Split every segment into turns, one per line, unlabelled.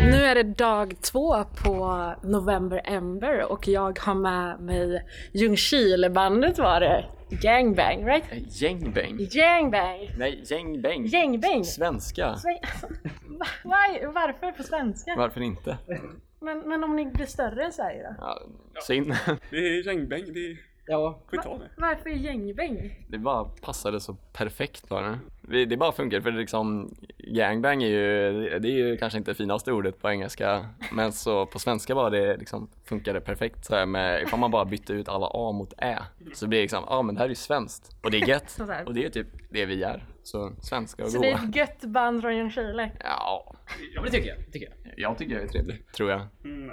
är det dag två på November Ember och jag har med mig Ljungskilebandet var det. Gangbang, right?
Gängbäng?
Gangbang!
Nej, gängbäng.
Gängbäng.
Svenska.
Sve- Var, varför på svenska?
Varför inte?
Men, men om ni blir större än Sverige då?
Ja, synd.
Det är regnbäng, det är...
Ja,
får vi ta det.
Varför gängbäng?
Det bara passade så perfekt var det. Vi- Det bara funkar för det liksom gangbang är ju, det är ju kanske inte det finaste ordet på engelska. Men så på svenska var det liksom funkade perfekt så här med ifall man bara bytte ut alla A mot Ä. Så blir det liksom, ja ah, men det här är ju svenskt och det är gött.
Sådär.
Och det är ju typ det vi är. Så svenska och
Så det är
goa.
ett gött band från Ljungskile.
Ja,
ja men det tycker jag. Tycker jag.
jag tycker jag är trevlig. Tror jag.
Mm,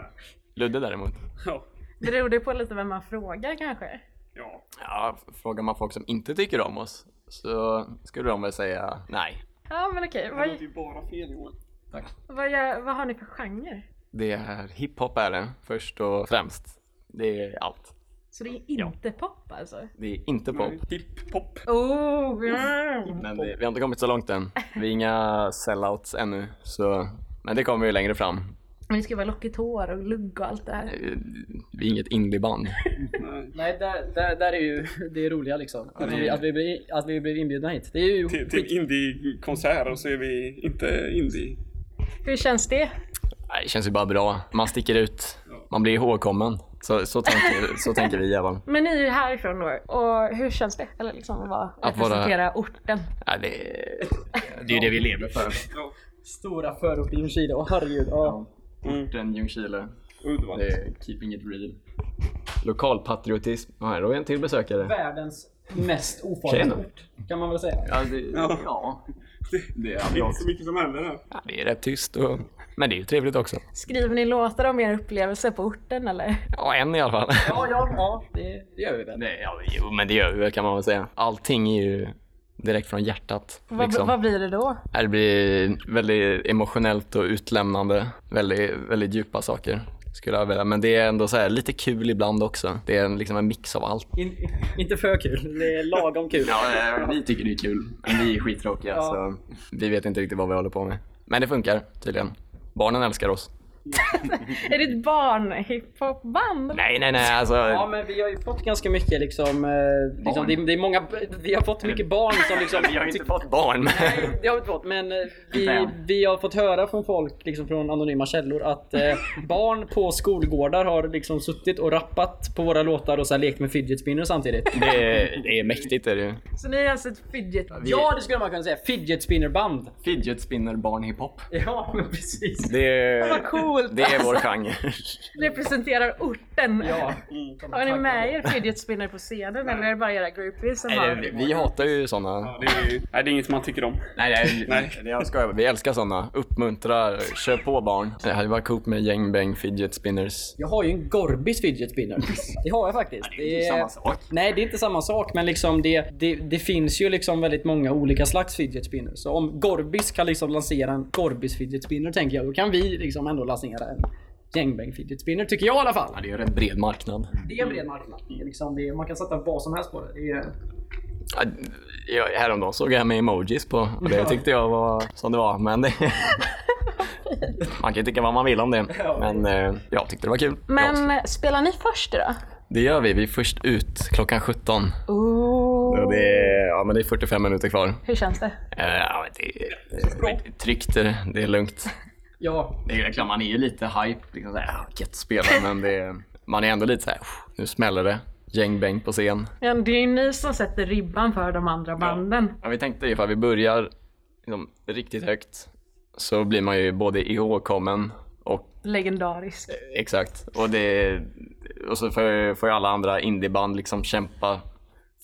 Ludde däremot.
ja.
Beror det på lite vem man frågar kanske?
ja.
Ja, frågar man folk som inte tycker om oss så skulle de väl säga nej.
Ja men typ. okej,
Det låter
vad,
ju bara fel Johan.
Tack.
vad, gör- vad har ni för genre?
Det är hiphop är det först och främst. Det är allt.
Så det är inte pop alltså?
Det är inte pop.
Hiphop.
Oh! yeah.
Men det, vi har inte kommit så långt än. Vi är inga sellouts ännu. Så, men det kommer ju längre fram.
Men det ska vara lockigt hår och lugg och allt det här.
Eh, Vi är inget indieband.
Nej,
Nej, där, där, där är ju det roliga liksom. Att vi, att vi, blir, att vi blir inbjudna hit. Det är ju
Typ.
Till, till indiekonsert och så är vi inte indie.
Hur känns det?
Nej, Det känns ju bara bra. Man sticker ut. Man blir ihågkommen. Så, så, tänker, så tänker vi i alla fall.
Men ni är ju härifrån då och hur känns det? Eller liksom att, vara,
Att vara-
representera orten.
Nej, Det, det är ju det vi lever för.
Ja.
stora förorter i Ljungskile. Åh herregud. Ja.
Mm.
Orten Ljungskile.
Uddevalla.
Det är eh, keeping it real. Lokalpatriotism. Ja, här har vi en till besökare.
Världens mest
Tjena.
ofarliga ort. Kan man väl säga.
Ja, det,
Ja.
det
Det
är
är inte så mycket som händer här.
Ja, det är rätt tyst och... Men det är ju trevligt också.
Skriver ni låtar om er upplevelse på orten eller?
Ja, en i alla fall.
Ja, ja, ja. Det, det gör vi väl.
Det, ja, jo, men det gör vi väl, kan man väl säga. Allting är ju direkt från hjärtat.
Vad,
Liksom.
vad blir det då?
Det blir väldigt emotionellt och utlämnande. Väldigt, väldigt djupa saker skulle jag vilja. Men det är ändå så här, lite kul ibland också. Det är en, liksom en mix av allt.
In, inte för kul. Det är lagom kul.
Ja, vi tycker det är kul. Men vi är skittråkiga så vi vet inte riktigt vad vi håller på med. Men det funkar tydligen. Barnen älskar oss.
Är det ett barnhiphopband?
Nej, nej, nej alltså.
Ja men vi har ju fått ganska mycket liksom, eh, liksom det, det är många, vi har fått mycket barn som liksom
Vi har ju inte fått barn. Men...
Det har vi inte fått, men eh, vi,
Vem?
vi har fått höra från folk liksom från anonyma källor att eh, barn på skolgårdar har liksom suttit och rappat på våra låtar och så här lekt med fidget spinner samtidigt.
Det är, det är mäktigt är det ju.
Så ni är alltså ett fidget?
Vi-
Ja, det skulle man kunna säga. Fidget spinner band.
Fidget spinner barn hiphop.
Ja, men precis.
Det är,
Vad coolt!
det är vår genre.
Representerar orten!
Ja.
Har ni med er fidget spinner på scenen eller är det bara era groupies som har?
Nej, vi hatar ju såna.
Ja, Det är, nej, det är inget man tycker om.
Nej, nej,
Nej.
nej. Jag skojar. bara. Vi älskar såna. Uppmuntrar, kör på barn. Det hade varit coolt med gängbäng fidget spinners.
Jag har ju en Gorbis fidget spinner. Det har jag faktiskt.
sak.
Nej, det är inte samma sak, men liksom det, det, det finns ju liksom väldigt många olika slags fidget spinners. Så om Gorbis kan liksom lansera en Gorbis fidget spinner, tänker jag, då kan vi liksom ändå lansera en gängbäng fidget spinner, tycker jag i alla fall.
Ja, det är ju en rätt bred marknad.
Det är en bred marknad. Det är liksom det, man kan sätta vad som helst på det. det är,
Ja, jag- Häromdagen såg jag med emojis på och det tyckte jag var som det var. Men det... Man kan ju tycka vad man vill om det. Men eh, jag tyckte det var kul.
Men eh, spelar ni först då?
Det gör vi. Vi är först ut klockan 17.
Oh. Ooh.
Och det, är, ja, men det är 45 minuter kvar.
Hur känns det?
Eh, Ja, men det, det, det är tryggt, det, det är lugnt.
ja,
Det är klart, man är ju lite hype. Liksom så här, "Ah, gött spel, men det, man är ändå lite så här, "Pff, nu smäller det. Gängbäng på scen.
Ja, det är ju ni som sätter ribban för de andra banden.
Ja, vi tänkte ifall vi börjar liksom, riktigt högt så blir man ju både ihågkommen och
Legendarisk.
exakt. Och, det, och så får, får ju alla andra indieband liksom kämpa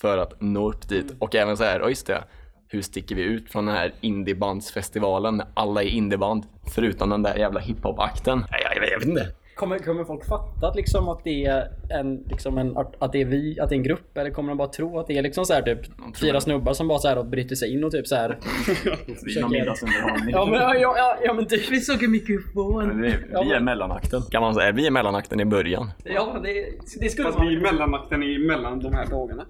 för att nå upp dit. Och även så här, oh, just det, hur sticker vi ut från den här indiebandsfestivalen när alla är indieband förutom den där jävla hiphop-akten? Jag, jag, jag vet inte.
kommer, kommer folk fatta att liksom att det är en, liksom en, att det är vi, att det är en grupp? Eller kommer de bara tro att det är liksom så här typ fyra snubbar som bara så här och bryter sig in och typ så här.
Det är någon middagsunderhållning.
Ja men, ja, ja, ja, men typ.
Vi såg en mikrofon.
Vi, vi är mellanakten. Kan man säga. Vi är mellanakten i början.
Ja, det, det skulle
Fast
man.
vi är mellanmakten i mellan de här dagarna.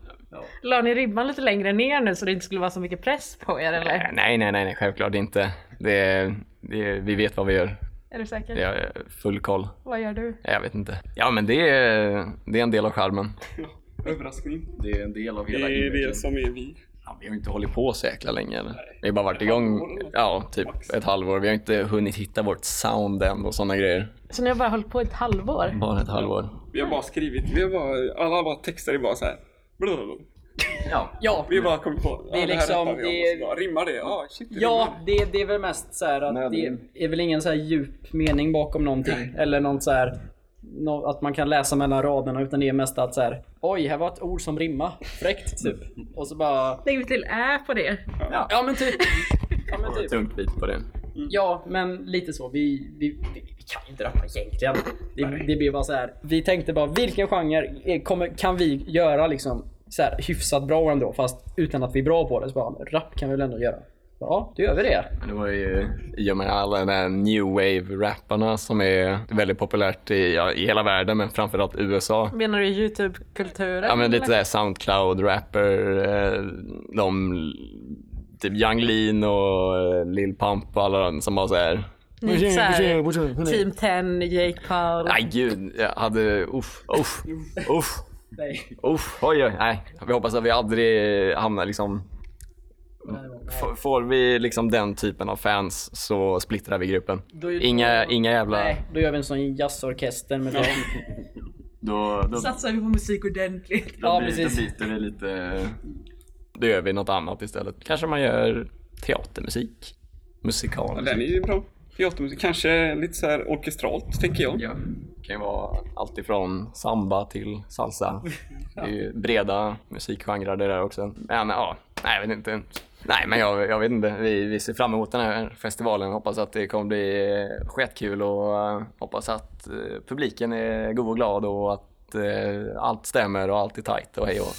La ni ribban lite längre ner nu så det inte skulle vara så mycket press på er eller?
Nej, nej, nej, nej självklart inte. Det, det, vi vet vad vi gör.
Är du säker?
Jag är full koll.
Vad gör du?
Jag vet inte. Ja men det är, det är en del av charmen.
Överraskning.
Det är en del av
Det
hela
är
imagen.
det som är vi.
Ja, vi har ju inte hållit på så jäkla länge. Eller? Vi har bara varit igång ja, typ ett halvår. Vi har inte hunnit hitta vårt sound än och sådana grejer.
Så ni har bara hållit på ett halvår?
Bara ett halvår.
Vi har bara skrivit, vi har bara, alla våra texter är bara så här. blablabla.
Ja.
Ja,
Vi har bara kommit på ja,
Det är liksom-
här pratar vi om.
det är-
Och så bara, Rimmar det? Ja, shit det
ja
rimmar.
det, det är väl mest så här att det är väl ingen så här djup mening bakom någonting. Eller något så här, nå- att man kan läsa mellan raderna. Utan det är mest att så här, oj här var ett ord som rimma Fräckt typ. Och så bara,
Lägger vi till ä på det?
ja men typ. Ja men typ.
Tungt bit på det.
Ja, men lite så. Vi, vi, vi, vi kan ju inte rappa egentligen. Det, det blir bara så här. Vi tänkte bara vilken genre är- kommer, kan vi göra liksom så här, hyfsat bra ändå fast utan att vi är bra på det. Så bara, men rap kan vi väl ändå göra. Ja, då gör vi det.
Men Det var ju i och med alla de här new wave-rapparna som är väldigt populärt i, ja, i hela världen men framförallt USA.
Menar du Youtube-kulturen?
Ja men lite
eller?
såhär Soundcloud-rapper, eh, de typ Young Lean och eh, Lil Pump och alla de som har såhär
Ni är så här, Team 10, Jake Paul.
Nej gud, jag hade uff, uff, uff,
Nej.
uff, oj oj, nej. Vi hoppas att vi aldrig hamnar liksom F- Får vi liksom den typen av fans så splittrar vi gruppen.
Då är det-
Inga, inga jävla...
Nej, då gör vi en sån jazzorkester med dem.
Då, då,
Satsar vi på musik ordentligt?
Ja, precis.
byter vi lite... Då gör vi något annat istället. Kanske man gör teatermusik?
Ja,
Musikal?
Den är ju bra. Teatermusik, kanske lite så här orkestralt tänker jag.
Ja. Det kan ju vara allt ifrån samba till salsa. Det är ju breda musikgenrer det där också. Men ja, nej, jag vet inte. Nej, men jag, jag vet inte. Vi, vi ser fram emot den här festivalen. Hoppas att det kommer bli eh, skitkul och eh, hoppas att eh, publiken är god och glad och att eh, allt stämmer och allt är tajt och hej och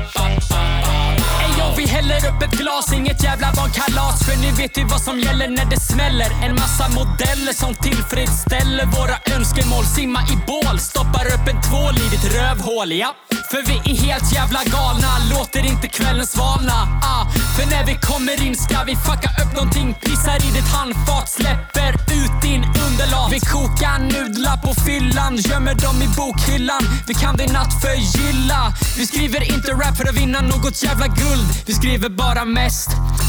Ey, och vi häller upp ett glas, inget jävla barnkalas För nu vet vi vad som gäller när det smäller En massa modeller som tillfredsställer våra önskemål Simma i bål, stoppar upp en tvål i ditt rövhål, ja För vi är helt jävla galna, låter inte kvällen svalna ah. För när vi kommer in ska vi fucka upp någonting Pissar i ditt handfat, släpper ut din underlag Vi kokar nudlar på fyllan, gömmer dem i bokhyllan Vi kan din natt förgylla Vi skriver inte rap för att vinna något jävla guld Vi skriver bara mest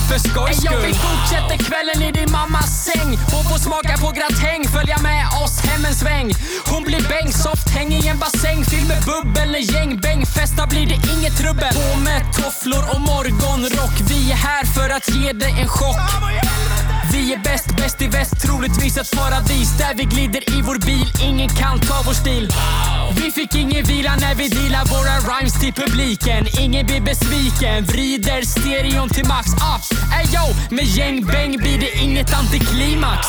för skojs skull Jag vill fortsätta kvällen i din mammas säng Hon får smaka på gratäng, följa med oss hem en sväng Hon blir bäng, soft häng i en bassäng Fylld med bubbel, en gängbäng Festa blir det inget trubbel På med tofflor och morgonrock Vi är här för att ge dig en chock vi är bäst, bäst i väst, troligtvis ett paradis där vi glider i vår bil. Ingen kan ta vår stil. Vi fick ingen vila när vi dealar våra rhymes till publiken. Ingen blir besviken, vrider stereon till max. Ups, ey yo, med gängbäng blir det inget antiklimax.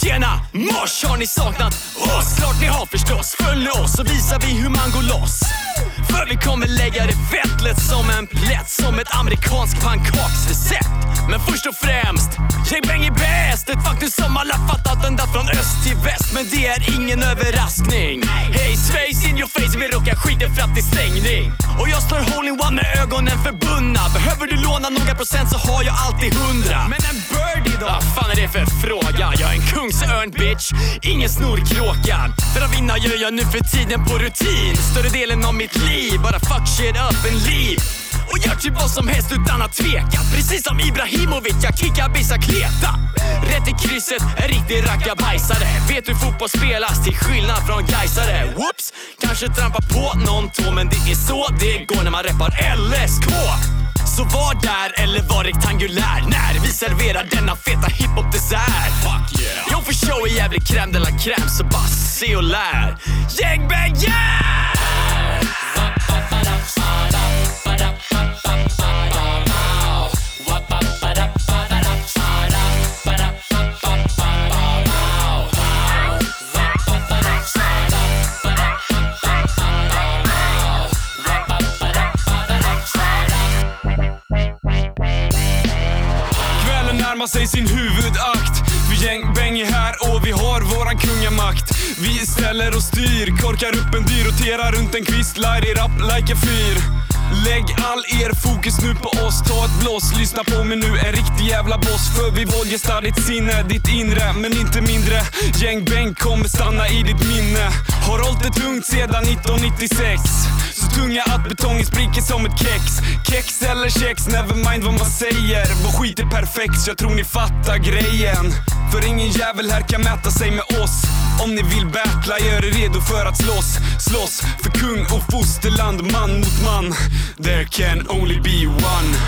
Tjena, mors! Har ni saknat oss? Klart ni har förstås. Följ oss så visar vi hur man går loss. För vi kommer lägga det fett lätt som en plätt, som ett amerikansk pannkaksrecept. Men först och främst, J-Bang är bäst! Ett faktum som alla fattat ända från öst till väst. Men det är ingen överraskning. Hey Space in your face, vi rockar skiten fram till stängning. Och jag slår hole-in-one med ögonen förbundna. Behöver du låna några procent så har jag alltid hundra. Men en birdie då? Vad fan är det för fråga? Jag är en kungsörn bitch, ingen snorkråka. För att vinna gör jag nu för tiden på rutin. Större delen av mitt liv, bara fuck shit up and leave. Och gör typ vad som helst utan att tveka. Precis som Ibrahimovic, jag kickar, bissar, kleta. Rätt i krysset, en riktig rackabajsare. Vet hur fotboll spelas till skillnad från gaisare. Whoops! Kanske trampar på någon tå, men det är så det går när man reppar LSK. Så var där eller var rektangulär när vi serverar denna feta hiphop-dessert. Fuck yeah! Jag för show är jävligt crème de la crème så bara se och lär. Gäng, bang, yeah!
Vi ställer och styr, korkar upp en dyr, roterar runt en kvist, light it up like a fyr. Lägg all er fokus nu på oss, ta ett blås, lyssna på mig nu, en riktig jävla boss. För vi våldgästar ditt sinne, ditt inre, men inte mindre. Gängbäng kommer stanna i ditt minne. Har hållit det tungt sedan 1996. Så tunga att betongen spricker som ett kex. Kex eller kex, never mind vad man säger. Vår skit är perfekt, så jag tror ni fattar grejen. För ingen jävel här kan mäta sig med oss. Om ni vill battla, gör er redo för att slåss. Slåss för kung och fosterland, man mot man. There can only be one.